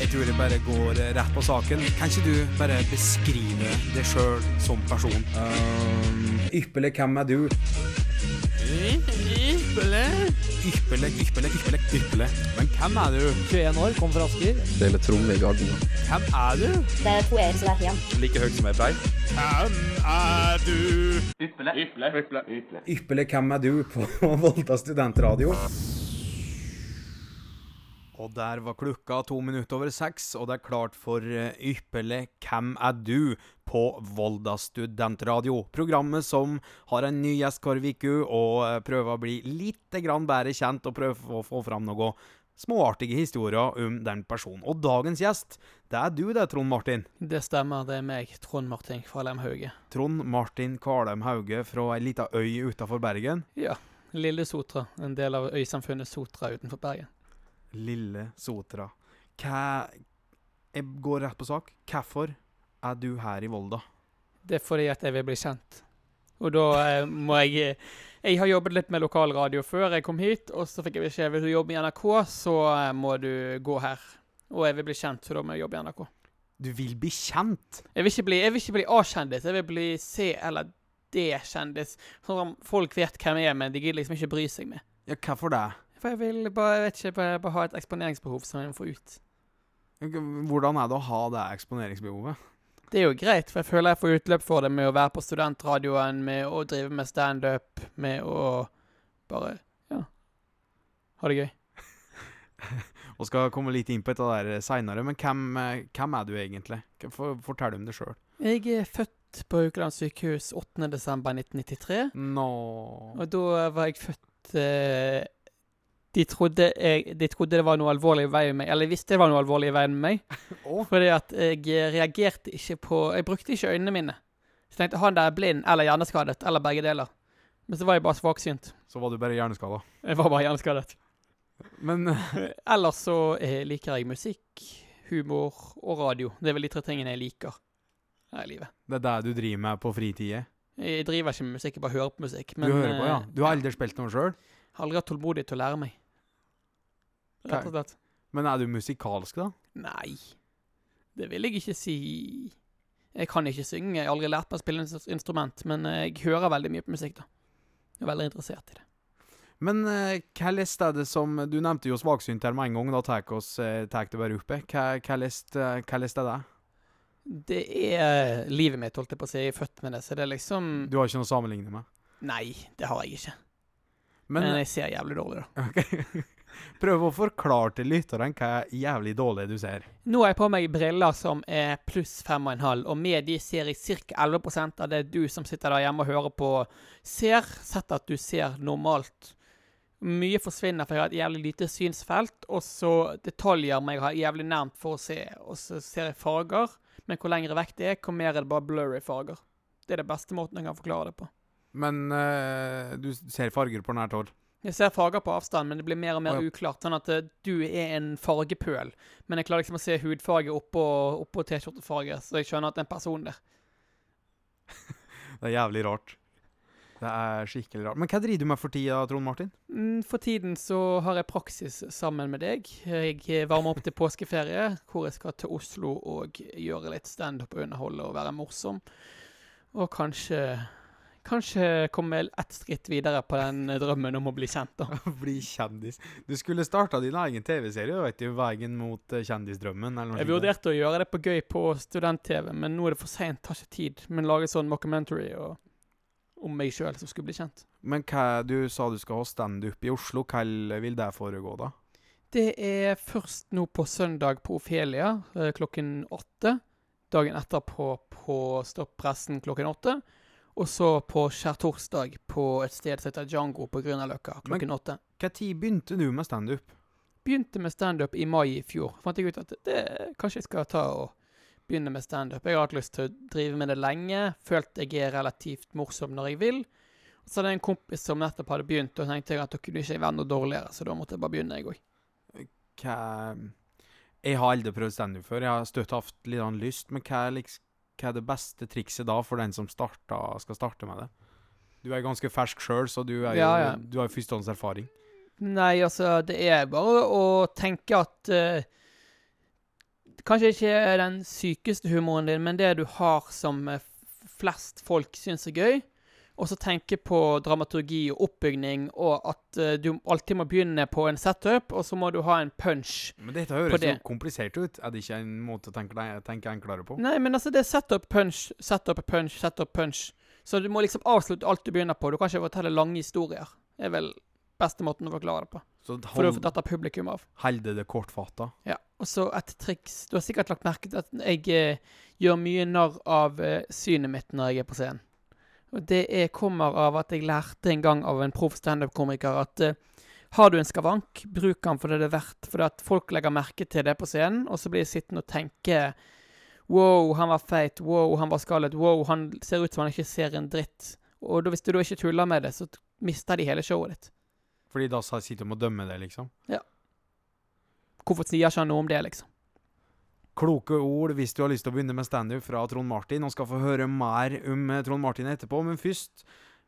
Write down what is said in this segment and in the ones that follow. Jeg tror jeg bare går eh, rett på saken. Kan ikke du bare beskrive deg sjøl som person? Ehm, ypperlig, hvem er du? Ypperlig, ypperlig, ypperlig. ypperlig. Men hvem er du? 21 år, kom fra Asker. Dele tromme i garden. Hvem er du? Det er to er, så det er én. Like høyt som ei brei. Hvem er du? Ypperlig, hvem er du? på Volta studentradio. Og der var klokka to minutter over seks, og det er klart for eh, ypperlig Hvem er du? på Volda studentradio. Programmet som har en ny gjest hver uke og eh, prøver å bli litt grann bedre kjent og prøver å få fram noe småartige historier om den personen. Og dagens gjest, det er du det, Trond Martin. Det stemmer, det er meg, Trond Martin fra Lemhauge. Trond Martin Kvalheim Hauge fra ei lita øy utafor Bergen. Ja. Lille Sotra, en del av øysamfunnet Sotra utenfor Bergen. Lille Sotra. Hva Jeg går rett på sak. Hvorfor er du her i Volda? Det er fordi at jeg vil bli kjent. Og da eh, må jeg Jeg har jobbet litt med lokalradio før jeg kom hit, og så fikk jeg beskjed hvis du jobber i NRK, så eh, må du gå her. Og jeg vil bli kjent, så da må jeg jobbe i NRK. Du vil bli kjent! Jeg vil ikke bli, jeg vil ikke bli A-kjendis, jeg vil bli C- eller D-kjendis. Sånn at folk vet hvem jeg er, men de gidder liksom ikke bry seg med. Ja, hvorfor det? For jeg vil bare, jeg vet ikke, bare, bare ha et eksponeringsbehov som jeg må få ut. Hvordan er det å ha det eksponeringsbehovet? Det er jo greit, for jeg føler jeg får utløp for det med å være på studentradioen, med å drive med standup, med å bare ja, ha det gøy. Og skal komme litt inn på dette der seinere, men hvem, eh, hvem er du egentlig? Hva- for- Fortell om det sjøl. Jeg er født på Haukeland sykehus 8.12.1993, Nå og da var jeg født eh, de trodde, jeg, de trodde det var noe alvorlig i veien med meg, eller jeg visste det var noe alvorlig i veien med meg, Å, fordi at jeg reagerte ikke på Jeg brukte ikke øynene mine. Så jeg tenkte han der er blind eller hjerneskadet, eller begge deler. Men så var jeg bare svaksynt. så var du bare hjerneskada. Jeg var bare hjerneskadet. Men Ellers så eh, liker jeg musikk, humor og radio. Det er vel de tre tingene jeg liker her i livet. det er det du driver med på fritida? Jeg driver ikke med musikk, jeg bare hører på musikk. Du Men hører på, ja. eh, Du har aldri spilt noe sjøl? har aldri hatt tålmodighet til å lære meg. Rett og slett. Men er du musikalsk, da? Nei, det vil jeg ikke si. Jeg kan ikke synge, jeg har aldri lært meg å spille ins- instrument, men eh, jeg hører veldig mye på musikk, da. Jeg er veldig interessert i det. Men eh, hvordan er det som Du nevnte jo svaksynt her med en gang, da tar jeg oss eh, tar jeg det bare oppe. Hvordan eh, hvordan er det? Det er eh, livet mitt, holdt jeg på å si. Jeg er født med det, så det er liksom Du har ikke noe å sammenligne med? Nei, det har jeg ikke. Men, Men eh, jeg ser jævlig dårlig, da. ok. prøv å forklare til lytterne hva jævlig dårlig du ser. Nå har jeg på meg briller som er pluss 5,5, og med de ser jeg ca. 11 av det du som sitter der hjemme og hører på, ser, sett at du ser normalt. Mye forsvinner, for jeg har et jævlig lite synsfelt, og så detaljer må jeg ha jævlig nærmt for å se, og så ser jeg farger, men hvor lengre vekk det er, hvor mer er det bare blurry farger. Det er det beste måten jeg kan forklare det på. Men eh, du ser farger på nært hold. Jeg ser farger på avstand, men det blir mer og mer Å, ja. uklart. Sånn at eh, du er en fargepøl, men jeg klarer liksom å se hudfarge oppå, oppå T-skjortefarge, så jeg skjønner at det er en person der. Det er jævlig rart. Det er skikkelig rart. Men hva driver du med for tida, Trond Martin? Mm, For tiden så har jeg praksis sammen med deg. Jeg eh, varmer opp til påskeferie, hvor jeg skal til Oslo og gjøre litt standup og underholde og være morsom. Og kanskje Kanskje komme ett skritt videre på den drømmen om å bli kjent, da. Bli kjendis. Du skulle starta din egen TV-serie, vet du. Veien mot eh, kjendisdrømmen, eller noe Jeg sånt. vurderte å gjøre det på gøy på student-TV, men nå er det for seint, tar ikke tid. Men lage sånn mockumentary og, om meg sjøl som skulle bli kjent. Men hva, du sa du skal ha standup i Oslo. Hva vil det foregå, da? Det er først nå på søndag på Ofelia eh, klokken åtte. Dagen etterpå på Stopp pressen klokken åtte. Og så på skjærtorsdag på et sted som heter Django på Grünerløkka Men- klokken åtte. Når begynte du med standup? Begynte med standup i mai i fjor. Fant jeg ut at det, kanskje jeg skal ta og begynne med standup. Jeg har hatt lyst til å drive med det lenge. Følt jeg er relativt morsom når jeg vil. Så hadde jeg en kompis som nettopp hadde begynt, og tenkte jeg at da kunne ikke jeg være noe dårligere, så da måtte jeg bare begynne, jeg òg. Hva Jeg har aldri prøvd standup før. Jeg har støtt hatt litt sånn lyst, men hva er, liks, hva er det beste trikset da for den som starta, skal starte med det? Du er ganske fersk sjøl, så du, er jo, Ja, ja. du har jo førstehåndserfaring. Nei, altså, det er bare å tenke at eh, Kanskje ikke den sykeste humoren din, men det du har som eh, f- flest folk syns er gøy. Og så tenke på dramaturgi og oppbygning, og at eh, du alltid må begynne på en setup, og så må du ha en punch. Men dette På høres det. jo komplisert ut. Er det ikke en måte å tenke, deg- tenke enklere på? Nei, men altså, det er setup, punch, setup, punch, setup, punch. Så du må liksom avslutte alt du begynner på. Du kan ikke fortelle lange historier. Det er vel beste måten å forklare det på. Så For du har hold, fått dette publikum av. holde det kortfatta. Ja, og så et triks. Du har sikkert lagt merke til at jeg eh, gjør mye narr av eh, synet mitt når jeg er på scenen. Og det er, kommer av at jeg lærte en gang av en proff standup-komiker at eh, har du en skavank, bruk den for det det er verdt. For at folk legger merke til det på scenen, og så blir jeg sittende og tenke Wow, han var feit. Wow, han var skallet. Wow, han ser ut som han ikke ser en dritt. Og da, hvis du da ikke tuller med det, så t- mister de hele showet ditt. Fordi da sa- sitter de og dømmer det, liksom. Hvorfor sier ikke han noe om det, liksom? Kloke ord hvis du har lyst til å begynne med standup fra Trond Martin, og skal få høre mer om eh, Trond Martin etterpå. Men først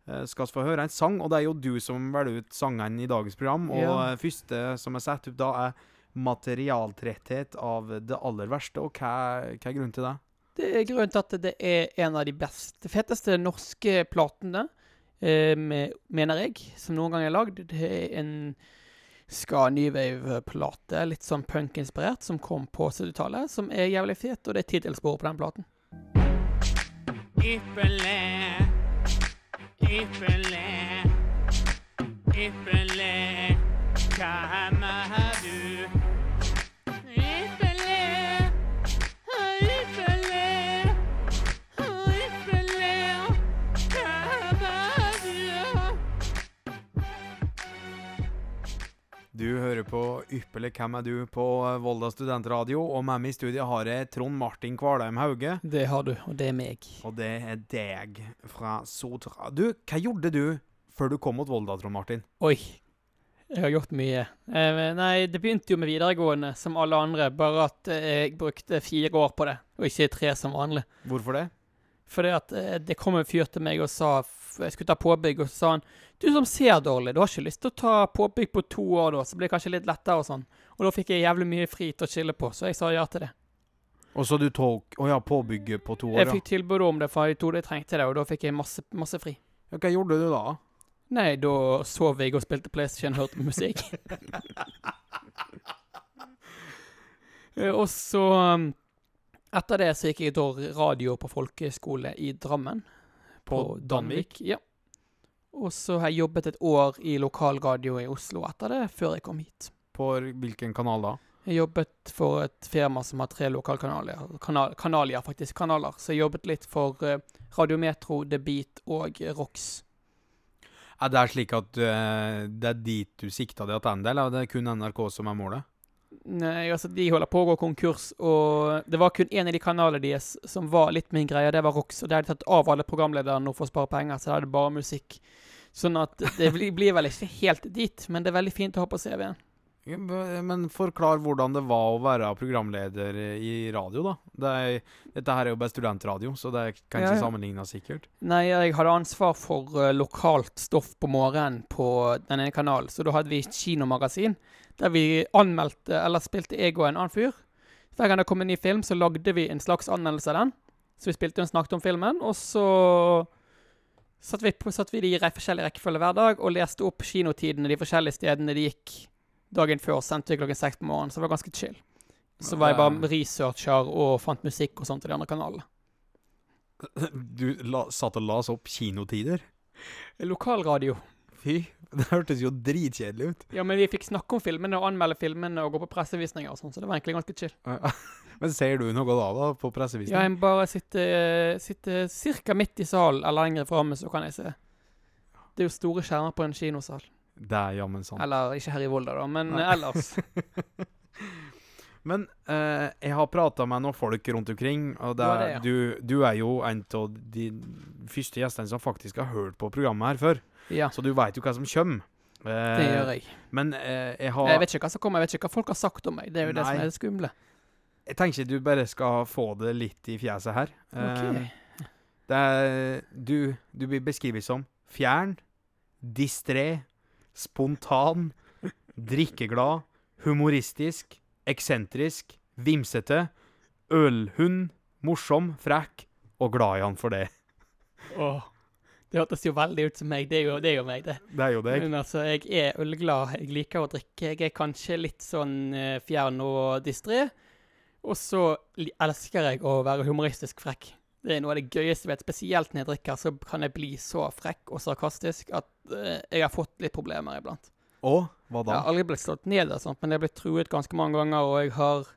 eh, skal vi få høre en sang, og det er jo du som velger ut sangene i dagens program. Og Ja. eh, første som er satt opp da, er 'Materialtretthet av det aller verste'. Og hva, hva er grunnen til det? Det er grunnen til at det er en av de beste, feteste norske platene, eh, med- mener jeg, som noen gang er lagd. Det er en ska new wave-plate, litt sånn punk-inspirert, som kom på 70-tallet, som er jævlig fet, og det er tittelsporet på den platen. Ypperlig. Ypperlig. Ypperlig. Hvem er du? Ypperlig. Ypperlig. Ypperlig. Hvem er du? Du hører på Ypperlig hvem er du på eh, Volda studentradio, og med meg i studiet har jeg Trond Martin Kvalheim Hauge. Det har du, og det er meg. Og det er deg fra Sotra. Du, hva gjorde du før du kom mot Volda, Trond Martin? Oi. Jeg har gjort mye. Eh, nei, det begynte jo med videregående, som alle andre, bare at eh, jeg brukte fire år på det, og ikke tre som vanlig. Hvorfor det? Fordi at eh, det kom en fyr til meg og sa f- Jeg skulle ta påbygg, og så sa han Du som ser dårlig, du har ikke lyst til å ta påbygg på to år, da, så blir det kanskje litt lettere og sånn. Og da fikk jeg jævlig mye fri til å chille på, så jeg sa ja til det. Og så du tok Å ja, påbygget på to Jeg år, ja. fikk tilbud om det, for jeg trodde jeg trengte det, og da fikk jeg masse, masse fri. Ja, Hva gjorde du da? Nei, da sov jeg og spilte PlayStation og hørte på musikk. Eh, og så um, Etter det så gikk jeg da radio på folkehøyskole i Drammen. På Danvik? Ja. Og så har jeg jobbet et år i lokalradio i Oslo etter det, før jeg kom hit. På hvilken kanal da? Jeg jobbet for et firma som har tre lokalkanaler, kanal, kanalier faktisk, kanaler. Så jeg jobbet litt for eh, Radiometro, The Beat og eh, Rox. Er det slik at eh, det er dit du sikta deg tilbake, eller er det kun NRK som er målet? Nei, altså de holder på å gå konkurs, og det var kun én i de kanalene deres som var litt min greie, og det var Rox. Og det har de tatt av alle programlederne nå for å spare penger, så da er det bare musikk. Sånn at det blir blir vel ikke helt dit, men det er veldig fint å ha på CV-en. Ja, b- Men forklar hvordan det var å være programleder i radio, da. Det er, dette her er jo bare studentradio, så det kan Ja, ikke ja. sammenlignes sikkert. Nei, jeg hadde ansvar for eh, lokalt stoff på morgenen på den ene kanalen, så da hadde vi et kinomagasin der vi anmeldte, eller spilte jeg og en annen fyr. Hver gang det kom en ny film, så lagde vi en slags anmeldelse av den. Så vi spilte og snakket om filmen, og så satt vi, på, satt vi det i re- forskjellig rekkefølge hver dag og leste opp kinotidene de forskjellige stedene de gikk dagen før, sendte vi klokken seks på morgenen, så det var ganske chill. Så var jeg bare researcher og fant musikk og sånt til de andre kanalene. Du la, satt og las opp kinotider? Lokalradio. Fy, det hørtes jo dritkjedelig ut. Ja, men vi fikk snakke om filmene og anmelde filmene og gå på pressevisninger og sånn, så det var egentlig ganske chill. Men ser du noe da, da, på pressevisning? Ja, jeg må bare sitter, sitter cirka midt i salen, eller lenger framme, så kan jeg se. Det er jo store skjermer på en kinosal. Det er jammen sant. Eller ikke her i Volda, da, men Nei. eh, ellers. Men eh, jeg har prata med noen folk rundt omkring, og det, Du har er- det, du, du er jo en av de første gjestene som faktisk har hørt på programmet her før, Ja, så du veit jo hva som kommer. det gjør jeg. Men eh, jeg har Jeg vet ikke hva som kommer, jeg vet ikke hva folk har sagt om meg. Det er jo det Nei. som er det skumle. Jeg tenker du bare skal få det litt i fjeset her. Eh, Ok. det er, du, du blir beskrevet som fjern, distré, spontan, drikkeglad, humoristisk, eksentrisk, vimsete Ølhund. Morsom, frekk og glad i han for det. Åh, det hørtes jo veldig ut som meg. Det er jo, det er jo meg, det. Det er jo deg. Men altså, jeg er ølglad. Jeg liker å drikke. Jeg er kanskje litt sånn eh, fjern og distré. Og så li- elsker jeg å være humoristisk frekk. Det er noe av det gøyeste jeg vet. Spesielt når jeg drikker, så kan jeg bli så frekk og sarkastisk at eh, jeg har fått litt problemer iblant. Og hva da? Jeg har aldri blitt slått ned, og sånt, men jeg har blitt truet ganske mange ganger. Og jeg har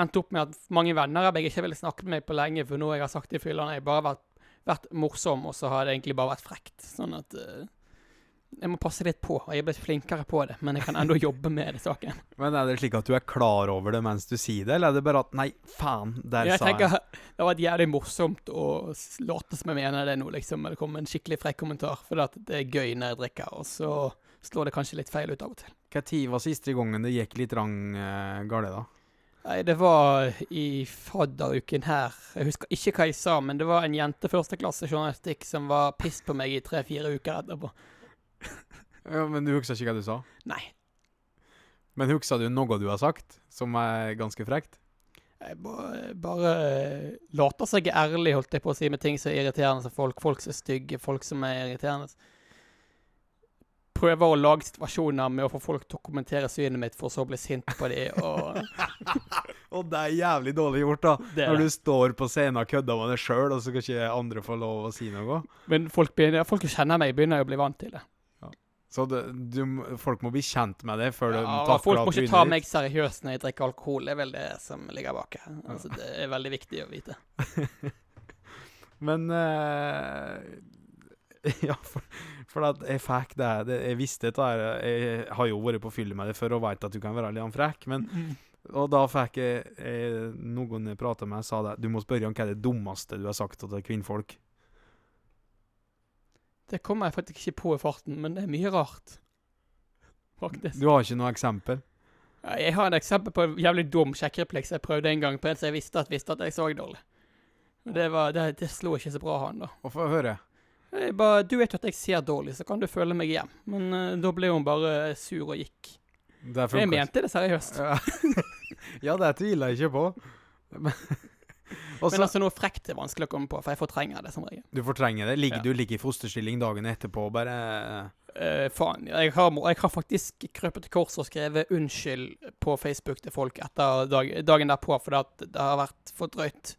endt opp med at mange venner jeg ikke ville snakket med på lenge, for noe jeg har sagt i fylla, har jeg bare vært, vært morsom, og så har det egentlig bare vært frekt. Sånn at eh, jeg må passe litt på, og jeg er blitt flinkere på det, men jeg kan ennå jobbe med det saken. Men er det slik at du er klar over det mens du sier det, eller er det bare at Nei, faen, der Jeg sa jeg. tenker Det har vært jævlig morsomt å s- late som jeg mener det nå, liksom, når det kommer en skikkelig frekk kommentar, for det, at det er gøy når jeg drikker, og så slår det kanskje litt feil ut av og til. Når var siste gangen det gikk litt rang eh, gale, da? Nei, det var i fadderuken her. Jeg husker ikke hva jeg sa, men det var en jente førsteklasse journalistikk som var piss på meg i tre-fire uker etterpå. Ja, men du husker ikke hva du sa? Nei. Men husker du noe du har sagt, som er ganske frekt? Jeg bare, bare eh, later seg ærlig, holdt jeg på å si, med ting som er irriterende som folk. Folk som er stygge, folk som er irriterende. Prøver å lage situasjoner med å få folk til å kommentere synet mitt, for så å bli sint på de, og Og det er jævlig dårlig gjort, da. det. Når du står på scenen og kødder med deg sjøl, og så kan ikke andre få lov å si noe. Men folk, begynner, folk som kjenner meg, begynner jo å bli vant til det. Så det, du, m- folk må bli kjent med det før de Ja, takler folk at må du ikke ta vinner. meg seriøst når jeg drikker alkohol. Det er vel det som ligger bak her. Altså, det er veldig viktig å vite. Men eh, Ja, for, for at jeg fikk det, det Jeg visste det her Jeg har jo vært på fylle med det før og veit at du kan være litt sånn frekk, men Og da fikk jeg, jeg Noen jeg prata med, sa det. Du må spørre om hva er det dummeste du har sagt til kvinnfolk. Det kommer jeg faktisk ikke på i farten, men det er mye rart. Faktisk. Du har ikke noe eksempel? Ja, Jeg har et eksempel på en jævlig dum sjekkereplikk som jeg prøvde en gang på en som jeg visste at, visste at jeg så dårlig. Men Det, var, det, det slo ikke så bra han, da. Å få høre. Jeg bare, du vet jo at jeg ser dårlig, så kan du følge meg hjem. Men eh, da ble hun bare sur og gikk. Det Jeg funka mente det seriøst. ikke. Ja, det tviler jeg ikke på. Men- Og Men så altså, noe frekt er vanskelig å komme på, for jeg fortrenger det som regel. Du fortrenger det. Ligger Ja. Du ligger i fosterstilling dagene etterpå og bare Eh, faen, jeg har, må- jeg har faktisk krøpet til korset og skrevet unnskyld på Facebook til folk etter dag, dagen derpå, fordi at det har vært for drøyt.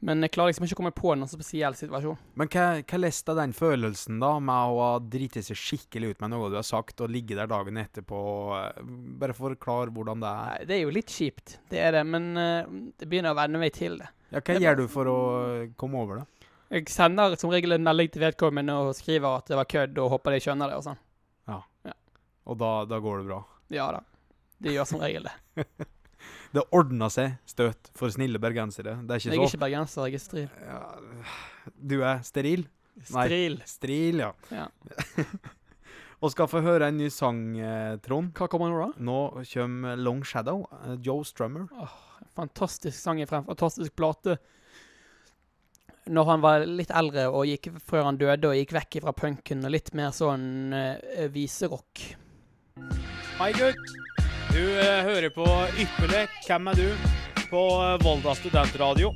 Men jeg klarer liksom ikke å komme på noen spesiell situasjon. Men hva, hva leste den følelsen, da, med å ha driti seg skikkelig ut med noe du har sagt, og ligge der dagen etterpå? eh, Bare forklar hvordan det er. Nei, det er jo litt kjipt, det er det, men eh, det begynner å venne meg til det. Ja, hva det gjør var- sånn- du for å eh, komme over det? Jeg sender som regel en melding til vedkommende og skriver at det var kødd, og håper de skjønner det og sånn. Og da, da går det bra. Ja da. De gjør som regel det. Det ordner seg støt for snille bergensere. Det er ikke Jeg er så ikke bergenser, jeg er stril. ja, Du er steril? Nei. Stril. Stril, ja. Ja. og skal få høre en ny sang, eh, Trond. Hva kommer nå, da? Nå kommer Long Shadow, eh, Joe Strummer. Fantastisk sang ifra en fantastisk plate. Når han var litt eldre og gikk før han døde og gikk vekk fra punken og litt mer sånn eh, viserock. Hei, gutt. Du eh, hører på Ypperlig Hvem er du? på eh, Volda studentradio.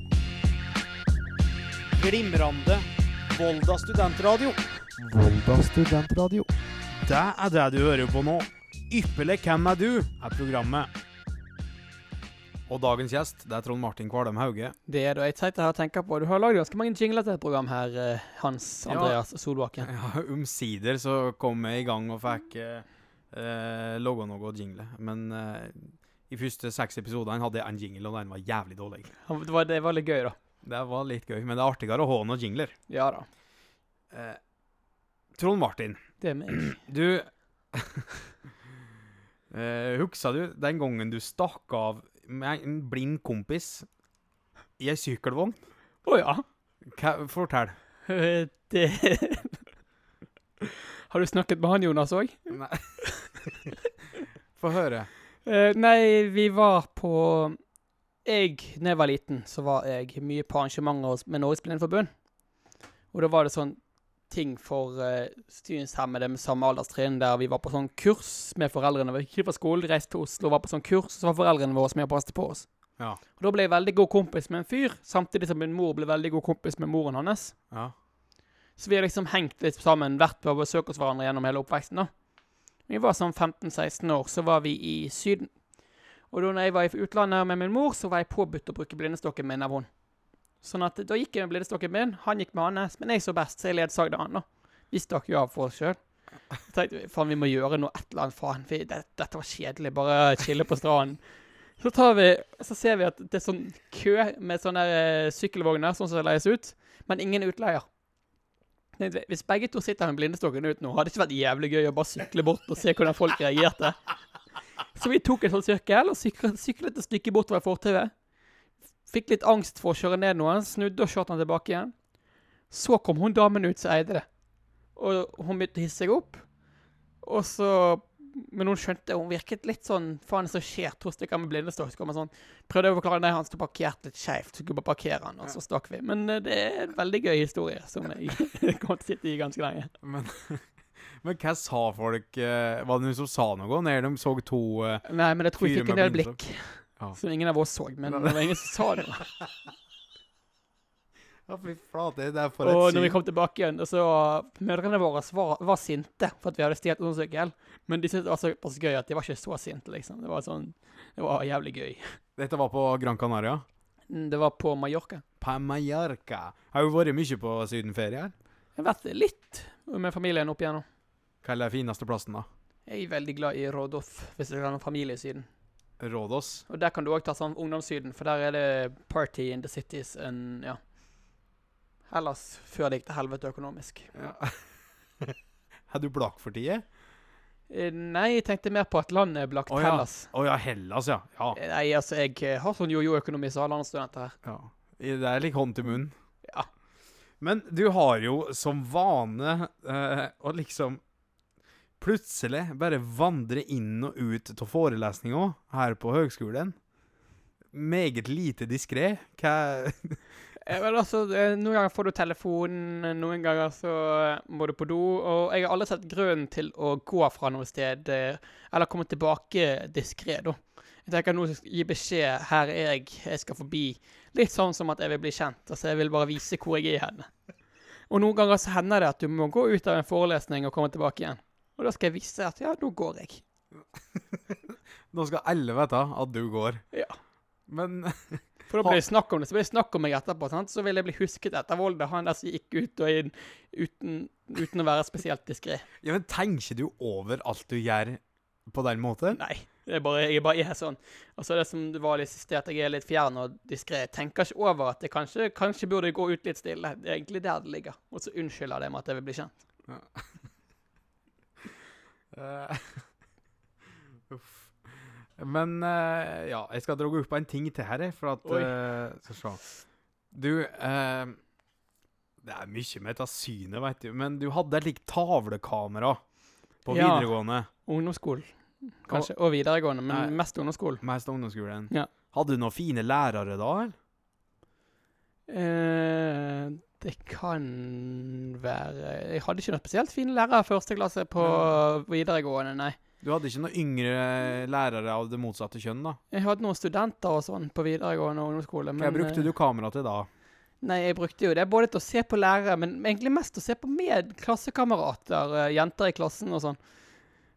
Glimrende Volda studentradio. Volda studentradio. Det er det du hører på nå. Ypperlig Hvem er du? er programmet. Og dagens gjest, det er Trond Martin Kvalem Hauge. Det er det jeg tenkte her å tenke på. Du har lagd ganske mange jingler til et program her, eh, Hans Ja. Andreas Solbakken. Ja, omsider så kom jeg i gang og fikk eh, eh, laga noe jingle. Men eh, i første seks episodene hadde jeg en jingle, og den var jævlig dårlig. Han- Det var, det var litt gøy, da. Det var litt gøy, men det er artigere å ha noen jingler. Ja da. Eh, Trond Martin, Det er meg. du eh, Husker du den gangen du stakk av med en blind kompis i ei sykkelvogn? Å ja. Hva- Fortell. Eh, Det Har du snakket med han Jonas òg? Nei. Få høre. Eh, nei, vi var på Jeg, da jeg var liten, så var jeg mye på arrangementer hos- med Norges Blindeforbund. Og da var det sånn ting for uh, synshemmede med samme alderstrinn der vi var på sånn kurs med foreldrene. Vi gikk fra skolen, reiste til Oslo, var på sånn kurs, og så var foreldrene våre med og passet på oss. Ja. Og da ble jeg veldig god kompis med en fyr, samtidig som min mor ble veldig god kompis med moren hans. Ja. Så vi har liksom hengt litt sammen, vært på besøk hos hverandre gjennom hele oppveksten. da. Vi var sånn 15-16 år, så var vi i Syden. Og da når jeg var i utlandet med min mor, så var jeg påbudt å bruke blindestokken min av hun. Sånn at da gikk jeg med blindestokken min, han gikk med hans, men jeg så best, så jeg ledsagde han, da. Vi stakk jo av for oss sjøl. Tenkte vi, faen, vi må gjøre noe, et eller annet, faen. Vi, det, dette var kjedelig, bare chille på stranden. Så tar vi, så ser vi at det er sånn kø med sånne eh, sykkelvogner, sånn som det leies ut, men ingen utleier. Tenkte vi, Hvis begge to sitter med blindestokken ut nå, hadde det ikke vært jævlig gøy å bare sykle bort og se hvordan folk reagerte. Så vi tok en sånn sirkel og syklet, syklet et stykke bortover fortauet. Fikk litt angst for å kjøre ned noen, snudde og kjørte han tilbake igjen. Så kom hun damen ut som eide det. Og hun begynte å hisse seg opp. Og så Men hun skjønte Hun virket litt sånn Faen, så skjer to stykker med blindestokk. Så kom hun sånn Prøvde jeg å forklare Nei, han sto parkert litt skeivt. Skulle bare parkere han, og så stakk vi. Men eh, det er en veldig gøy historie som jeg kommer til å sitte i ganske lenge. Men, men hva sa folk eh, Var det noen som sa noe når de så to eh, Nei, men jeg tror vi Fyre fikk en med del blindestock. blikk. Ja. Som ingen av oss så, men det var ingen som sa noe. Ja, fy flate, det er for Og et når vi sykt kom tilbake igjen, så mødrene våre var, var sinte for at vi hadde stjålet motorsykkel. Men de syntes det var såpass gøy at de var ikke så sinte, liksom. Det var sånn Det var jævlig gøy. Dette var på Gran Canaria. Mm, Det var på Mallorca. På Mallorca. Har jo vært mye på sydenferie her. Jeg har vært litt med familien opp igjennom. Hva er den fineste plassen, da? Jeg er veldig glad i Rådoff, hvis det er noen familie i Syden. Rådås. Og der kan du òg ta sånn Ungdomssyden, for der er det party in the cities and ja. Ellers før det gikk til helvete økonomisk. Ja. er du blakk for tida? Eh, Nei, jeg tenkte mer på at landet er blakt Å ja. Hellas. Å ja, Hellas, ja. ja. Eh, Nei, altså, jeg eh, har sånn jojo-økonomi som alle andre studenter her. ja. I- Det er litt hånd til munn. Ja. Men du har jo som vane eh, å liksom plutselig bare vandre inn og ut av forelesninga her på høgskolen. Meget lite diskré. Hva Eh, Men altså, eh, noen ganger får du telefonen, eh, noen ganger så eh, må du på do, og jeg har aldri sett grunnen til å gå fra noe sted, eh, eller komme tilbake diskré, da. Jeg tenker nå skal jeg gi beskjed, her er jeg, jeg skal forbi. Litt sånn som at jeg vil bli kjent, altså jeg vil bare vise hvor jeg er henne. Og noen ganger så hender det at du må gå ut av en forelesning og komme tilbake igjen. Og da skal jeg vise at ja, nå går jeg. Nå skal alle vite at du går. Ja. Men For da ble det snakk om det, så ble det snakk om meg etterpå. sant? Så ville jeg bli husket etter Volda, han der som gikk ut og inn uten, uten å være spesielt diskré. Ja, men tenker du over alt du gjør på den måten? Nei. Jeg bare, jeg bare er sånn. Og så er det som det var litt sist, at jeg er litt fjern og diskré. Tenker ikke over at jeg kanskje, kanskje burde gå ut litt stille. Det er egentlig der det ligger. Og så unnskylder det med at jeg vil bli kjent. Eh, Uff. Men eh, ja, jeg skal dra opp en ting til her, jeg, for at Oi. eh, Skal se. Du eh, Det er mye med dette synet, veit du, men du hadde et likt tavlekamera på Ja. videregående. Ungdomsskolen, kanskje. Og videregående, men Nei. mest ungdomsskolen. Mest ungdomsskolen. Ja. Hadde du noen fine lærere da, eller? Eh, det kan være Jeg hadde ikke noe spesielt fine lærere første klasse på videregående, nei. Du hadde ikke noen yngre eh, lærere av det motsatte kjønn, da? Jeg hadde noen studenter og sånn på videregående og ungdomsskole. Hva brukte eh, du kamera til da? Nei, jeg brukte jo det både til å se på lærere, men egentlig mest til å se på med klassekamerater, eh, jenter i klassen og sånn.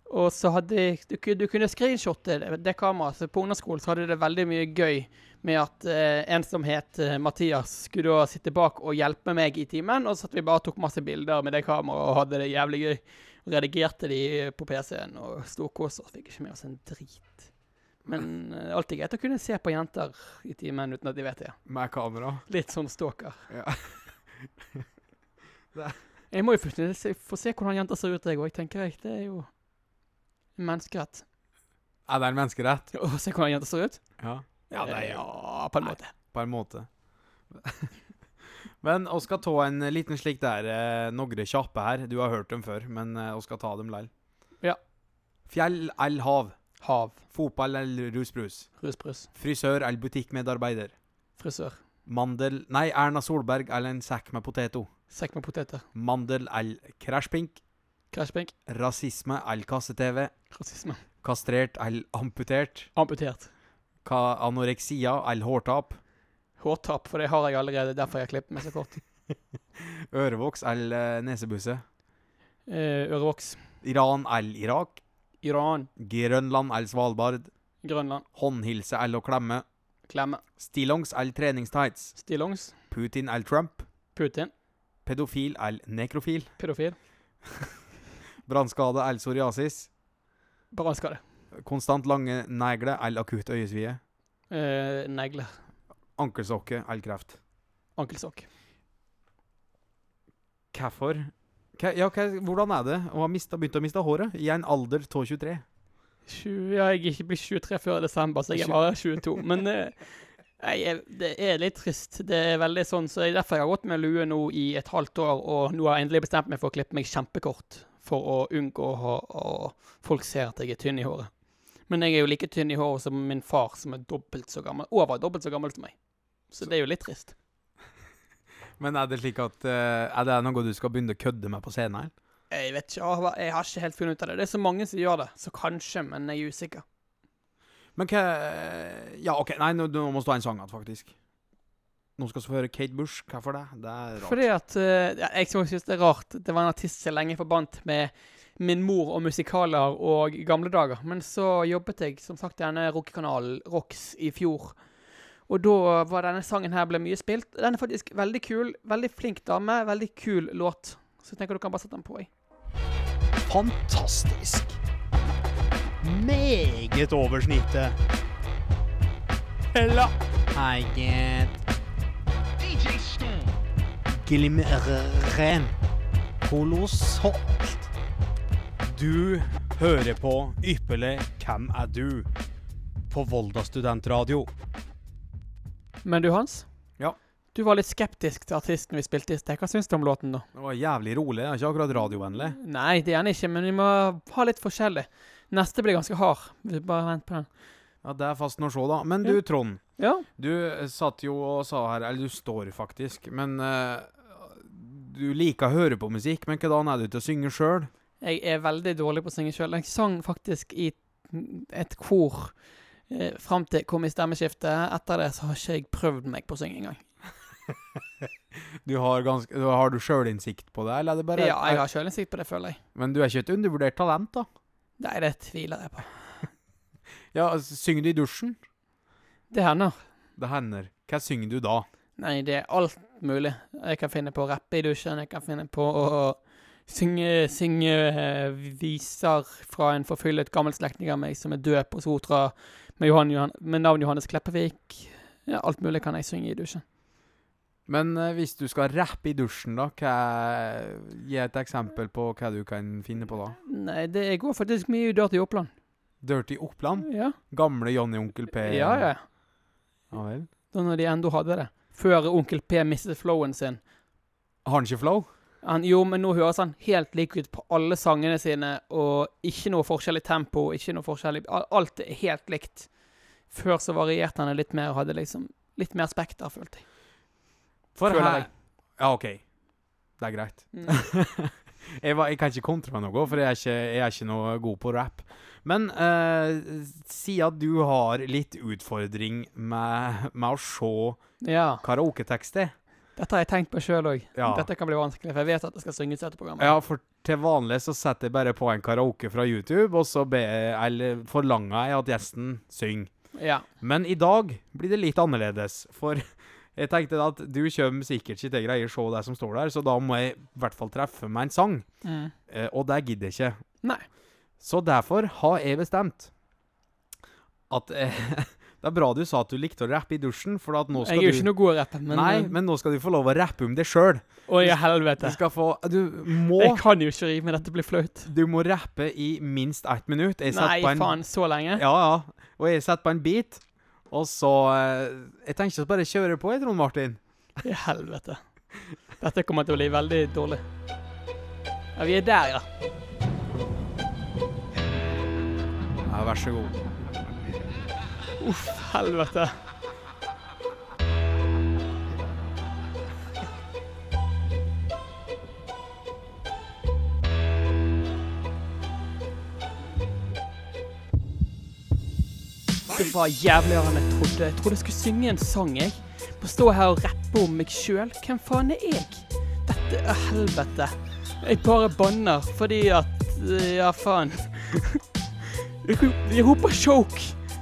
Og så hadde jeg, du, ku- du kunne screenshotte det, det kameraet. Så på ungdomsskolen så hadde det veldig mye gøy med at eh, en som het eh, Mathias, skulle da sitte bak og hjelpe meg i timen. Og så at vi bare tok masse bilder med det kameraet og hadde det jævlig gøy. Og redigerte de eh, på PC-en og storkosa oss. Fikk ikke med oss en drit. Men eh, alltid greit å kunne se på jenter i timen uten at de vet det. Med kamera? Litt sånn stalker. Ja. Det jeg må jo plutselig se, få se hvordan jenter ser ut, jeg òg, tenker jeg. Det er jo en menneskerett. Er det en menneskerett? Å se hvordan jenter ser ut? Ja. Eh, ja, på en Nei. måte. På en måte. men vi skal ta en liten slik der eh, Nogre kjappe her. Du har hørt dem før, men vi skal ta dem lell. Ja. Fjell eller hav? Hav. Fotball eller rusbrus? Rusbrus. Frisør eller butikkmedarbeider? Frisør. Mandel Nei, Erna Solberg eller en sekk med poteto? Sekk med poteter. Mandel eller krasjpink? Krasjbenk. Rasisme eller kasse-TV? Rasisme. Kastrert eller amputert? Amputert. Hva anoreksia eller hårtap? Hårtap, for det har jeg allerede. Derfor jeg klipper meg så kort. Ørevoks eller eh, nesebusse? Eh, Ørevoks. Iran eller Irak? Iran. Grønland eller Svalbard? Grønland. Håndhilse eller å klemme? Klemme. Stillongs eller treningstights? Stillongs. Putin eller Trump? Putin. Pedofil eller nekrofil? Pedofil. Brannskade eller psoriasis? Brannskade. Konstant lange negler eller akutt øyesvie? Eh, negler. Ankelsokke eller kreft? Ankelsokk. Hvorfor? Hva- Ja, hva- hvordan er det å ha mista, begynt å miste håret i en alder av 23? Tju- Ja, jeg er ikke blir 23 før i desember, så jeg Tju- er bare 22. Men eh, nei, jeg, det er litt trist. Det er veldig sånn, så det er derfor jeg har gått med lue nå i et halvt år, og nå har jeg endelig bestemt meg for å klippe meg kjempekort for å unngå å ha- å- folk ser at jeg er tynn i håret. Men jeg er jo like tynn i håret som min far, som er dobbelt så gammel, over dobbelt så gammel som meg. Så det er jo litt trist. Men er det slik at eh, Er det noe du skal begynne å kødde med på scenen? her? Jeg vet ikke, jeg har- jeg har ikke helt funnet ut av det. Det er så mange som gjør det, så kanskje, men jeg er usikker. Men hva Ja, OK, nei, nå, nå må stå en sang igjen, faktisk. Nå skal vi få høre Kate Bush. Hvorfor det? Det er rart. Fordi at eh, ja, Jeg syns det er rart. Det var en artist som jeg lenge forbandt med min mor og musikaler og gamle dager. Men så jobbet jeg som sagt i denne rockekanalen Rox i fjor. Og da var denne sangen her ble mye spilt. Den er faktisk veldig kul. Veldig flink dame. Veldig kul låt. Så jeg tenker du kan bare sette den på. Jeg. Fantastisk. Meget over snittet. Hella. Eget Glimrer Kolossalt Du hører på Ypperlig Hvem er du? På Volda Studentradio Men du, Hans? Ja. Du var litt skeptisk til artisten vi spilte i sted. Hva syns du om låten, da? Det var jævlig rolig, det er ikke akkurat radiovennlig Nei, det er den ikke, men vi må ha litt forskjellig. Neste blir ganske hard. Vi Bare vent på den. Ja, det er fast å se da Men du Trond, Ja. du eh, satt jo og sa her Eller du står faktisk Men eh, du liker å høre på musikk Men hvordan er du til å synge selv? Jeg er veldig dårlig på å synge sjøl. Jeg sang faktisk i et kor eh, fram til jeg kom i stemmeskiftet. Etter det så har ikke jeg prøvd meg på å synge engang. Du har, ganske, har du selvinnsikt på det? Eller er det bare Eh, Ja, jeg har sjølinnsikt på det, føler jeg. Men du er ikke et undervurdert talent da Nei, det tviler jeg på. Ja, altså, synger du i dusjen? Det hender. Det hender. Hva synger du da? Nei, det er alt mulig. Jeg kan finne på å rappe i dusjen. Jeg kan finne på å synge, synge eh, viser fra en forfyllet gammel slektning av meg som er død på Sotra, med, Johan, Johan, med navn Johannes Kleppevik. Ja, alt mulig kan jeg synge i dusjen. Men eh, hvis du skal rappe i dusjen, da, hva, gi et eksempel på hva du kan finne på da. Nei, det jeg går faktisk mye i Dirty Oppland. Dirty Oppland? Ja. Gamle Johnny Onkel P? Ja, ja. Ja vel. Da når de enda hadde det. Før Onkel P mistet flowen sin. Har han ikke flow? Han, jo, men nå høres han helt lik ut på alle sangene sine, og ikke noe forskjell i tempo, ikke noe forskjell i al- Alt er helt likt. Før så varierte han det litt mer og hadde liksom litt mer spekter, følte jeg. For Føler her- jeg. Mm. Ja, OK. Det er greit. jeg, var, jeg kan ikke kontre med noe, for jeg er ikke, jeg er ikke noe god på rap. Men eh, siden du har litt utfordring med, med å se Ja. karaoketekster Dette har jeg tenkt på sjøl òg. Ja. Dette kan bli vanskelig, for jeg vet at det skal synges etter programmet. Ja, for til vanlig så setter jeg bare på en karaoke fra YouTube, og så be, eller forlanger jeg at gjesten synger. Ja. Men i dag blir det litt annerledes, for jeg tenkte at du kommer sikkert ikke til å greie å se det som står der, så da må jeg i hvert fall treffe med en sang, Mm. eh, og det gidder jeg ikke. Nei. Så derfor har jeg bestemt at eh, Det er bra du sa at du likte å rappe i dusjen, for at nå Jeg skal er jo du ikke noe god å rappe, men eh, Nei, men nå skal du få lov å rappe om deg sjøl. Å, i Du helvete. skal få Du må Jeg kan jo ikke rime, dette blir flaut. Du må rappe i minst ett minutt. Jeg setter Nei, på en, faen, så lenge? Ja, ja. Og jeg setter på en beat, og så eh, Jeg tenker å bare kjøre på, jeg, Trond Martin. I helvete. Dette kommer til å bli veldig dårlig. Ja, vi er der, ja. Ja, vær så god. Uff, helvete. I Det var jævligere enn jeg trodde. Jeg trodde jeg skulle synge en sang, jeg. På å stå her og rappe om meg sjøl. Hvem faen er jeg? Dette er helvete. Jeg bare banner fordi at Ja, faen. De rop- De roper choke.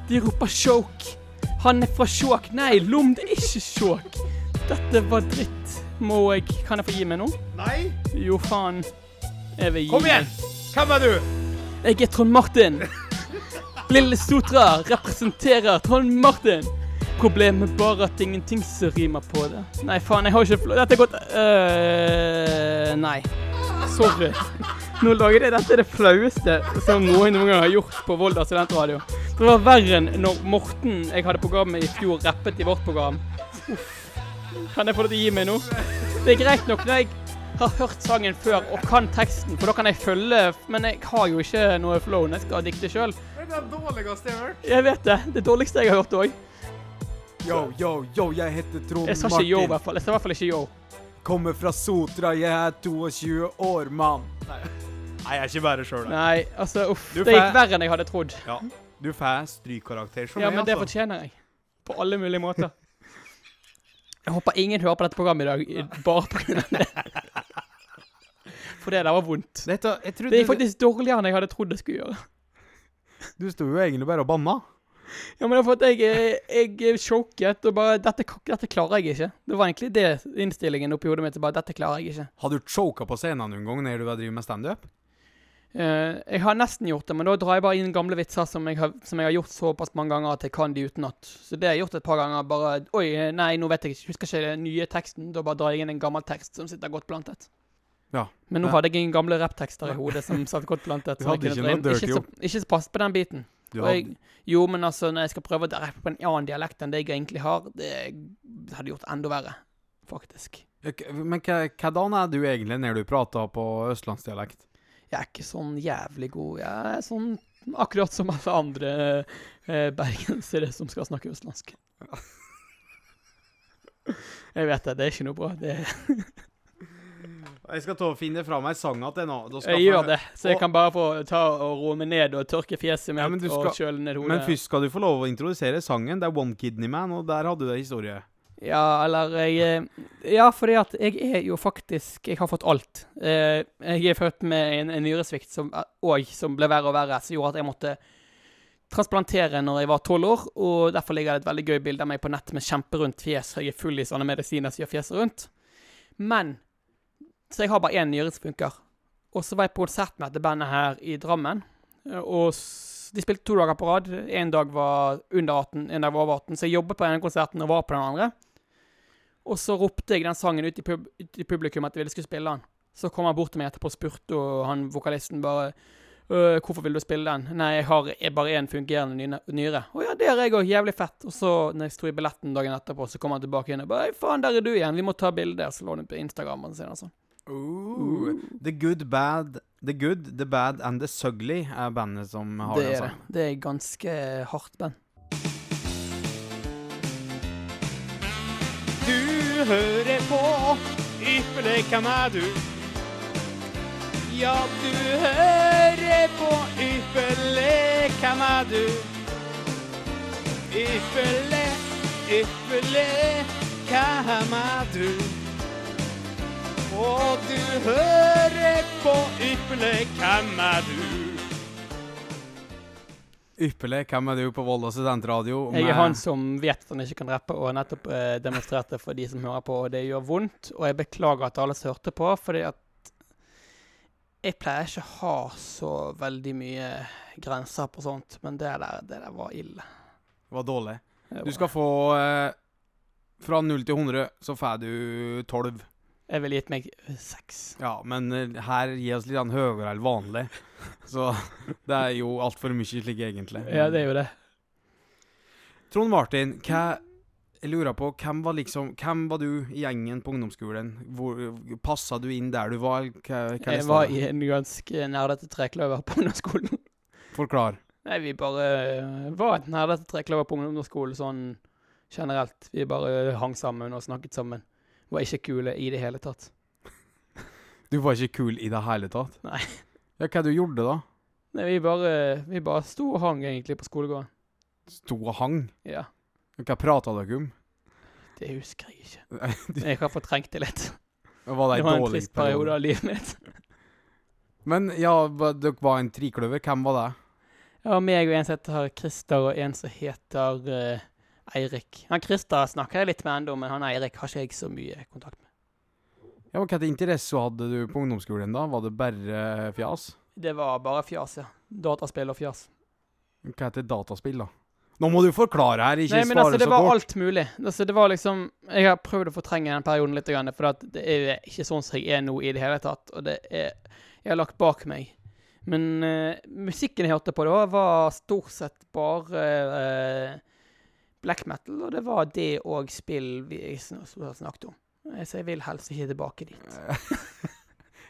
De roper choke. Han er fra Skjåk. Nei, Lom, det er ikke Skjåk. Dette var dritt. Må jeg Kan jeg få gi meg nå? Nei! Jo, faen. Jeg vil gi Kom igjen! meg. Hvem er du? Jeg er Trond Martin. Lille Sotra representerer Trond Martin. Problemet er bare at ingenting som rimer på det. Nei, faen, jeg har ikke fl- Dette er godt øh, Nei. Sorry. Nå lager jeg dette er det flaueste som noen noen gang har gjort på Volda studentradio. Det var verre enn når Morten jeg hadde program med i fjor, rappet i vårt program. Uff. Kan jeg få deg til å gi meg nå? Det er greit nok når jeg har hørt sangen før og kan teksten, for da kan jeg følge, men jeg har jo ikke noe flow når jeg skal dikte sjøl. Det er det dårligste jeg har hørt. Jeg vet det. Det dårligste jeg har hørt òg. Yo, yo, yo, jeg heter Trond Jeg sa ikke yo, i Martin. hvert fall. Jeg sa i hvert fall ikke yo. Kommer fra Sotra, jeg er 22 år, mann. Nei, jeg er ikke bare sjøl, da. Nei, altså, uff. Du Det får- gikk verre enn jeg hadde trodd. Ja. Du får strykkarakter som Ja, meg, men det altså. fortjener jeg. På alle mulige måter. Jeg håper ingen hører på dette programmet i dag i- bare pga. det. For det der var vondt. Dette, jeg trodde Det gikk faktisk dårligere enn jeg hadde trodd det skulle gjøre. Du sto jo egentlig bare og banna. Ja, men det er for at jeg, er- jeg er sjoket og bare dette, k- dette klarer jeg ikke. Det var egentlig det innstillingen oppi hodet mitt. Bare, dette klarer jeg ikke. Har du choka på scenen noen gang når du har drevet med standup? Eh, jeg har nesten gjort det, men da drar jeg bare inn gamle vitser som jeg, har, som jeg har gjort såpass mange ganger at jeg kan de utenat. Så det har jeg gjort et par ganger. Bare Oi, nei, nå vet jeg ikke. Husker ikke den nye teksten. Da bare drar jeg inn en gammel tekst som sitter godt plantet. Ja. Men nå Ja. hadde jeg ingen gamle rapptekster i hodet som satt godt plantet. Du som jeg hadde kunne ikke dra noe inn. dirty ikke, så, ikke så pass på den biten. Du Og jeg, jo, men altså, når jeg skal prøve å rappe på en annen dialekt enn det jeg egentlig har, det hadde gjort enda verre, faktisk. Ok, Men hva- hvordan er du egentlig når du prater på østlandsdialekt? Jeg er ikke sånn jævlig god. Jeg er sånn akkurat som alle andre eh, bergensere som skal snakke østlandsk. Jeg vet det, det er ikke noe bra. Det, Jeg skal ta og finne fra meg sanga til nå. Da jeg gjør få- det, så jeg kan bare få ta og roe meg ned og tørke fjeset mitt Ja, men du og skal- kjøle ned hodet. Men først skal du få lov å introdusere sangen. Det er One Kidney Man, og der hadde du en historie. Ja, eller jeg eh, Ja, fordi at jeg er jo faktisk Jeg har fått alt. Eh, Jeg er født med en, en nyresvikt som, eh, og, som ble verre og verre, som gjorde at jeg måtte transplantere når jeg var tolv år. Og derfor ligger det et veldig gøy bilde av meg på nett med kjemperundt fjes. Jeg er full i sånne medisiner som gjør fjeset rundt. Men Så jeg har bare én nyre som funker. Og så var jeg på konsert med dette bandet her i Drammen. eh, Og s- de spilte to dager på rad. En dag var under 18, en dag var over 18. Så jeg jobbet på den ene konserten og var på den andre. Og så ropte jeg den sangen ut i, pub ut i publikum at jeg ville skulle spille den. Så kom han bort til meg etterpå og spurte, og han vokalisten bare «Øh, 'Hvorfor vil du spille den?' 'Nei, jeg har e- bare én fungerende nyne- nyre.' 'Å ja, det har jeg òg. Jævlig fett.' Og så, når jeg sto i billetten dagen etterpå, så kom han tilbake igjen og bare «Ei, 'Faen, der er du igjen. Vi må ta bilde.' Så lå han på Instagram og sånn. og sånn. The Good Bad The Good, The Bad and The Sugly er bandet som har Det den altså. er det. sangen. Det er ganske hardt band. Du hører på Ypperlig hvem er du? Ja, du hører på Ypperlig hvem er du? Ypperlig, ypperlig hvem er du? Og du hører på Ypperlig hvem er du? Ypperlig. Hvem er du på Volda studentradio? Jeg med- er han som vet at han ikke kan rappe, og nettopp eh, demonstrerte for de som hører på, og det gjør vondt. Og jeg beklager at alle som hørte på, fordi at jeg pleier ikke å ha så veldig mye grenser på sånt, men det der, det der var ille. var dårlig. Det Du var- skal få eh, Fra 0 til 100 så får du 12. Jeg ville gitt meg eh, seks. Ja, men eh, her gir oss litt grann høyere enn vanlig. Så det er jo altfor mye slik, egentlig. Ja, det er jo det. Trond Martin, hva jeg lurer på, hvem var liksom Hvem var du i gjengen på ungdomsskolen? Hvor, passa du inn der du var? eller Hva, hva Jeg leste var du? i en ganske nerdete trekløver på ungdomsskolen. Forklar. Nei, vi bare øh, var et nerdete trekløver på ungdomsskolen sånn generelt. Vi bare øh, hang sammen og snakket sammen. Var ikke kule i det hele tatt. Du var ikke kul i det hele tatt? Nei. Ja, hva du gjorde da? Nei, vi bare, vi bare sto og hang egentlig på skolegården. sto og hang. Ja, Hva prata dere om? det husker jeg ikke. Det Jeg har fortrengt det litt. var det Det en var en dårlig trist periode av livet mitt. Men ja, hva- dere var en trikløver. Hvem var det? Det var meg og en som heter Christer, og en som heter eh, Eirik. Han Christer snakker jeg litt med ennå, men han Eirik har ikke jeg så mye kontakt med. Ja, men Hva slags interesse hadde du på ungdomsskolen da? Var det bare fjas? Det var bare fjas, ja. Dataspill og fjas. Hva heter dataspill, da? Nå må du forklare her, ikke Nei, men svare altså, det så var kort. alt mulig. Altså, det var liksom Jeg har prøvd å fortrenge den perioden litt, grann, for at det er ikke sånn som jeg er nå i det hele tatt. Og det er Jeg har lagt bak meg. Men eh, musikken jeg hørte på da, var stort sett bare eh, black metal, og det var det og spill vi jeg sn- snakket om. Eh, Så jeg vil helst ikke tilbake dit.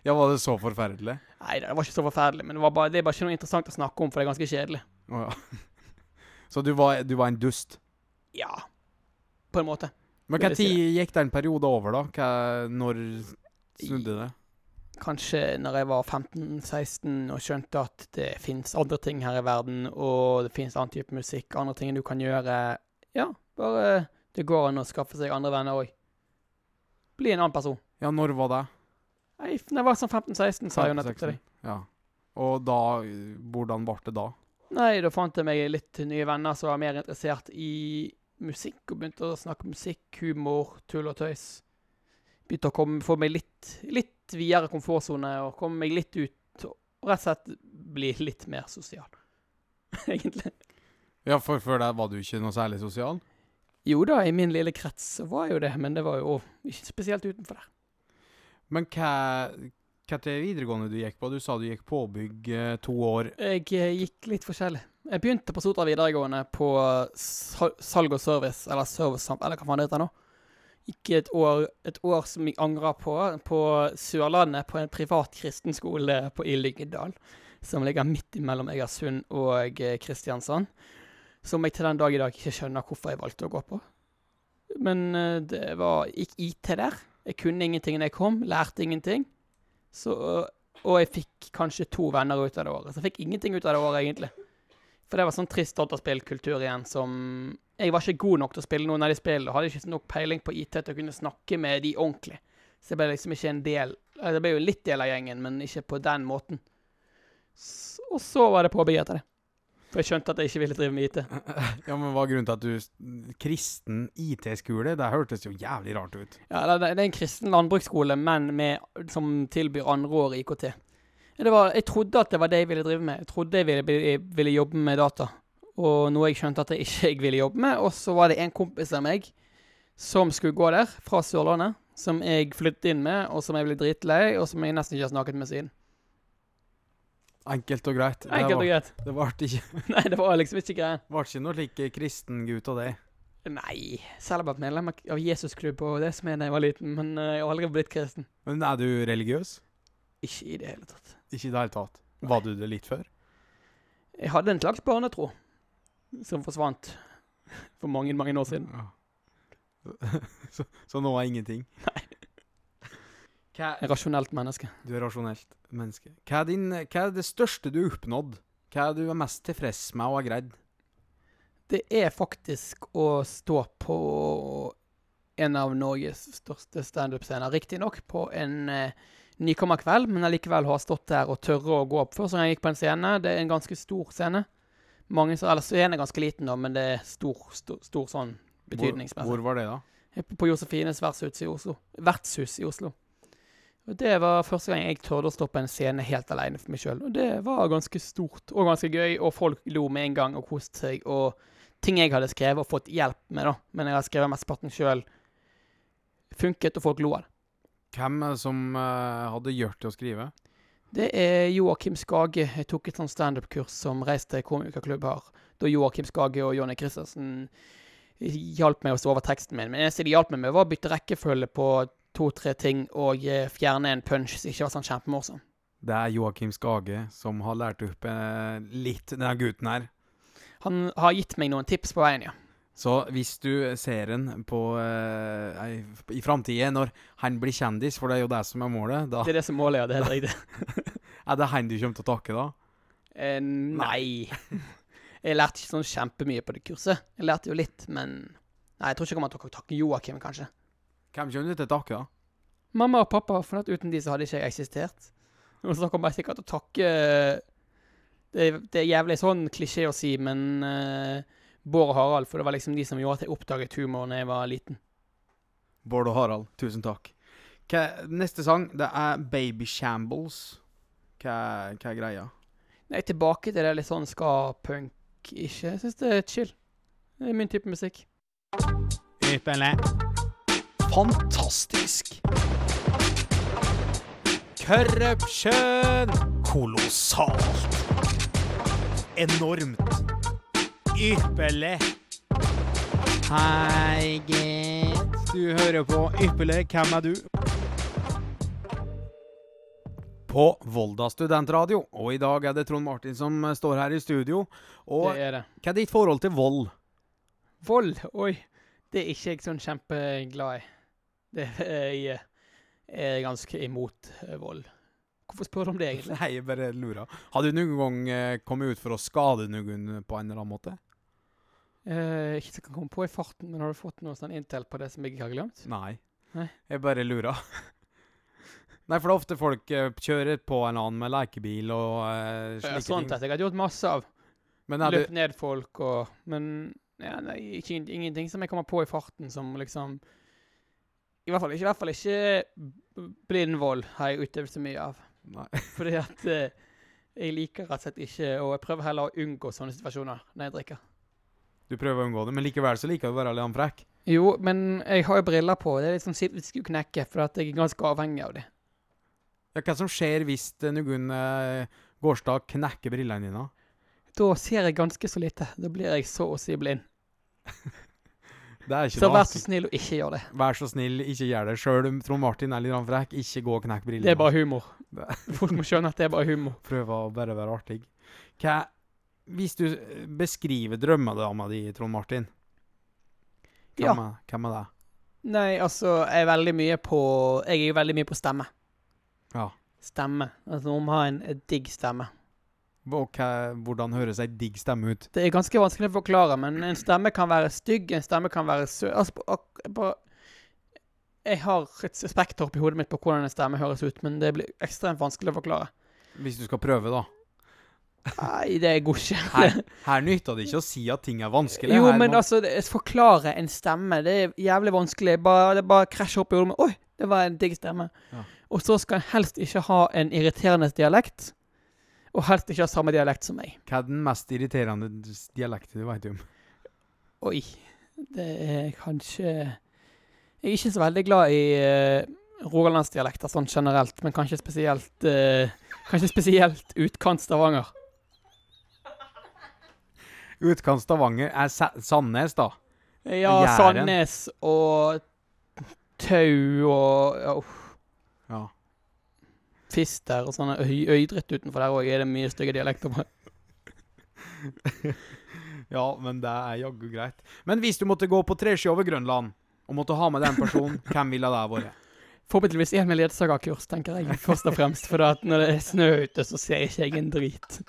Ja, var det så forferdelig? Nei det var ikke så forferdelig, men det, var bare, det er bare ikke noe interessant å snakke om, for det er ganske kjedelig. Å ja. Så du var, du var en dust. Ja. På en måte. Men Det hva vil tid si gikk den perioden over, da? Hva, når snudde det? kanskje når jeg var 15-16 og skjønte at det fins andre ting her i verden, og det fins annen type musikk, andre ting du kan gjøre Ja, bare det går an å skaffe seg andre venner òg. Bli en annen person. Ja, når var det? Nei, f- Når jeg var sånn 15-16, sa jeg jo nettopp til deg. 16. Ja. Og da Hvordan ble det da? Nei, da fant jeg meg litt nye venner som var mer interessert i musikk, og begynte å snakke musikk, humor, tull og tøys. Begynte å komme, få meg litt, litt videre komfortsone, og komme meg litt ut, og rett og slett bli litt mer sosial. Egentlig. Ja, for før det var du ikke noe særlig sosial? Jo da, i min lille krets så var jeg jo det, men det var jo ikke spesielt utenfor der. Men hva hva til videregående du gikk på? Du sa du gikk påbygg eh, to år. Jeg eh, gikk litt forskjellig. Jeg begynte på Sotra videregående på sal salg og service, eller service sam- eller hva faen det heter nå. Gikk et år, et år som jeg angrer på, på Sørlandet, på en privat kristenskole på, i Lyngdal, som ligger midt imellom Egersund og eh, Kristiansand. Som jeg til den dag i dag ikke skjønner hvorfor jeg valgte å gå på. Men eh, det var gikk IT der. Jeg kunne ingenting da jeg kom, lærte ingenting. Så og jeg fikk kanskje to venner ut av det året. Så jeg fikk ingenting ut av det året, egentlig. For det var sånn trist dataspillkultur igjen som Jeg var ikke god nok til å spille noen av de spillene, og hadde ikke nok peiling på IT til å kunne snakke med de ordentlig. Så jeg ble liksom ikke en del eller, Jeg ble jo litt del av gjengen, men ikke på den måten. S og så var det påbygg etter det. For jeg skjønte at jeg ikke ville drive med IT. Ja, men hva er grunnen til at du s- Kristen IT-skole? Det hørtes jo jævlig rart ut. Ja, det, det det er en kristen landbruksskole, men med, som tilbyr andre år i IKT. Det var, jeg trodde at det var det jeg ville drive med. Jeg trodde jeg ville, bli- ville jobbe med data. Og noe jeg skjønte at jeg ikke jeg ville jobbe med. Og så var det en kompis av meg som skulle gå der, fra Sørlandet. Som jeg flyttet inn med, og som jeg ble dritlei, og som jeg nesten ikke har snakket med siden. Enkelt og greit. Enkelt og greit. Det ble ikke, Nei, det var liksom ikke greia. var ikke noe slik kristengutt av det. Nei. Selv om jeg var medlem av Jesusklubb og det som jeg da jeg var liten, men eh, jeg har aldri blitt kristen. Men er du religiøs? Ikke i det hele tatt. Ikke i det hele tatt. Var du det litt før? Jeg hadde en slags barnetro som forsvant for mange, mange år siden. Ja. så, så nå er ingenting? Nei. Et rasjonelt menneske. Du er rasjonelt menneske. Hva er, din, hva er det største du har oppnådd? Hva er du er mest tilfreds med og har greid? Det er faktisk å stå på en av Norges største standup-scener. Riktignok på en eh, nykommerkveld, men allikevel har stått der og tørre å gå opp. Første gang jeg gikk på en scene, det er en ganske stor scene. Mange, som- eller scenen er ganske liten, da, men det er stor, stor, stor sånn betydningsmessig. Hvor, hvor var det, da? på Josefines vertshus i Oslo. Vertshus i Oslo. Og Det var første gang jeg tørde å stå på en scene helt alene for meg sjøl. Og det var ganske stort og ganske gøy, og folk lo med en gang og koste seg. Og ting jeg hadde skrevet og fått hjelp med, da, men jeg har skrevet mesteparten sjøl, funket, og folk lo av det. Hvem er det som eh, hadde gjort det å skrive? Det er Joakim Skage. Jeg tok et sånt standup-kurs som reiste komikerklubb her. Da Joakim Skage og Jonny Christensen hjalp meg å stå over teksten min. Men det eneste de hjalp meg med, var å bytte rekkefølge på to-tre ting og eh, fjerne en punch som ikke var sånn kjempemorsom. Det er Joakim Skage som har lært opp eh, litt denne gutten her. Han har gitt meg noen tips på veien, ja. Så hvis du ser en på eh, ei- i framtida, når han blir kjendis, for det er jo det som er målet, da Det er det som målet, ja. Det er helt riktig. er det han du kommer til å takke da? Eh, nei. Jeg lærte ikke sånn kjempemye på det kurset. Jeg lærte jo litt, men Nei, jeg tror ikke jeg kommer til å takke Joakim, kanskje. Hvem kommer du til å takke, da? Mamma og pappa, for at uten de så hadde ikke jeg eksistert. Og så kommer jeg sikkert til å takke eh, det, det er jævlig sånn klisjé å si, men eh, Bård og Harald, for det var liksom de som gjorde at jeg oppdaget humor da jeg var liten. Bård og Harald, tusen takk. Hva, neste sang, det er Baby Shambles. Hva, hva er greia? Nei, tilbake til det litt sånn ska-punk ikke. Jeg syns det er chill. Det er min type musikk. Ypperlig. Fantastisk! Corruption! Kolossalt! Enormt! Ypperlig. Hei, gitt. Du hører på Ypperlig. Hvem er du? På Volda studentradio. Og i dag er det Trond Martin som eh, står her i studio. Og Det er det. hva er ditt forhold til vold? Vold, oi. Det er ikke jeg sånn kjempeglad i. Det er eh, jeg er ganske imot eh, vold. Hvorfor spør du om det, egentlig? Nei, jeg bare lurer. Har du noen gang eh, kommet ut for å skade noen på en eller annen måte? Eh, ikke som kan komme på i farten, men har du fått noe sånn intel på det som jeg har glemt? Nei. Nei. Jeg bare lurer. Nei, for det er ofte folk eh, kjører på en annen med lekebil og eh, Ja, sånn slike sånt ting. at jeg hadde gjort masse av. Men er du Løpt ned folk og Men ja, nei, ikke, ingenting som jeg kommer på i farten som liksom I hvert fall ikke, i hvert fall ikke b- blindvold har jeg utøvd så mye av. Nei. Fordi at eh, jeg liker rett og slett ikke Og jeg prøver heller å unngå sånne situasjoner når jeg drikker. Du prøver å unngå det, men likevel så liker du å være litt frekk. Jo, men jeg har jo briller på. Det er litt sånn sitt skulle knekke, for at jeg er ganske avhengig av det. Ja, hva som skjer hvis eh, noen eh, Gårdstad knekker brillene dine? Da ser jeg ganske så lite. Da blir jeg så å si blind. Det er ikke Så noe vær så artig. snill og ikke gjør det. Vær så snill, ikke gjør det sjøl. Trond Martin er litt grann frekk. Ikke gå og knekk brillene. Det er bare humor. Det- Folk må skjønne at det er bare humor. Prøv å bare være artig. Hva Hvis du eh, beskriver drømmedama di, Trond Martin, hvem, Ja. er, hvem er det? Nei, altså, jeg er veldig mye på Jeg er jo veldig mye på stemme. Ja. Stemme. Altså, hun må ha en en digg stemme. Og hva, hvordan høres ei digg stemme ut? Det er ganske vanskelig å forklare, men en stemme kan være stygg, en stemme kan være søt Altså, på, ak- på Jeg har et spekter oppi hodet mitt på hvordan en stemme høres ut, men det blir ekstremt vanskelig å forklare. Hvis du skal prøve, da. Nei, det går ikke. Her, her nytter det ikke å si at ting er vanskelig. Jo, her men må- altså, det, forklare en stemme, det er jævlig vanskelig. Bare, det bare krasjer opp i hodet mitt. Oi, det var en digg stemme. Ja. Og så skal en helst ikke ha en irriterende dialekt, og helst ikke ha samme dialekt som meg. Hva er den mest irriterende s- dialekten du veit om? Oi, det er kanskje Jeg er ikke så veldig glad i eh, rogalandsdialekter sånn generelt, men kanskje spesielt eh, Kanskje spesielt utkant Stavanger. Utkant Stavanger er Sa Sandnes, da. Ja, Jæren. Sandnes og Tau og ja, uff. Ja. Fister og sånne øy øydritt utenfor der òg. Er det mye stygge dialekter på? ja, men det er jaggu greit. Men hvis du måtte gå på treski over Grønland, og måtte ha med den personen, hvem ville det ha vært? Forhåpentligvis en med ledsagerkurs, tenker jeg først og fremst. For at når det er snø ute, så ser ikke jeg en drit.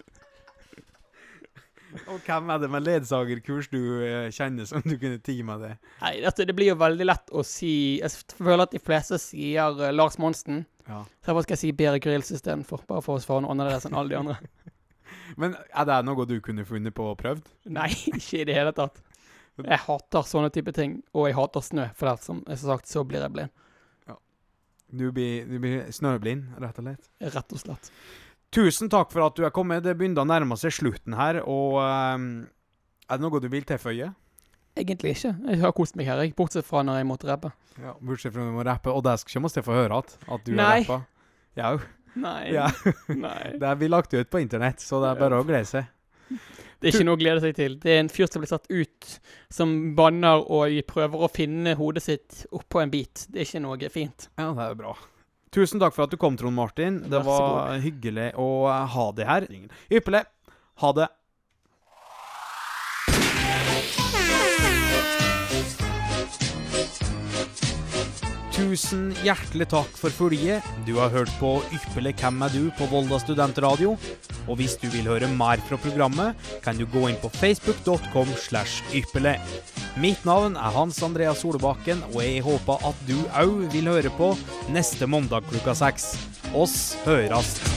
Og hvem er det med ledsagerkurs du eh, kjenner som du kunne tie med det? Nei, dette, det blir jo veldig lett å si Jeg føler at de fleste sier eh, Lars Monsen. Ja. Så jeg bare skal si Berit Grylls istedenfor, bare for å svare noe annerledes enn alle de andre. Men er det noe du kunne funnet på og prøvd? Nei, ikke i det hele tatt. Jeg hater sånne type ting, og jeg hater snø, for det, som som sagt, så blir jeg blind. Du blir, du blir snøblind, rett og slett. Rett og slett. Tusen takk for at du er kommet. Det begynner å nærme seg slutten her, og ehm, Er det noe du vil tilføye? Egentlig ikke. Jeg har kost meg her, jeg. Bortsett fra når jeg måtte rappe. Ja, Bortsett fra når du må rappe, og det skal ikke vi få høre at, at du har Nei. rappa. Jau. Nei. Ja. Nei. Det blir lagt ut på internett, så det er bare å glede seg. Det er ikke noe å glede seg til. Det er en fyr som blir satt ut, som banner og prøver å finne hodet sitt oppå en bit. Det er ikke noe fint. Ja, det er bra. Tusen takk for at du kom, Trond Martin. Det Vær så var hyggelig å eh, ha deg her. Ypperlig. Ha det. Tusen hjertelig takk for følget. Du har hørt på Ypperlig hvem er du på Volda studentradio. Og hvis du vil høre mer fra programmet, kan du gå inn på facebook.com slash ypperlig. Mitt navn er Hans Andreas Solbakken, og jeg håper at du òg vil høre på neste mandag klokka seks. Oss hørast.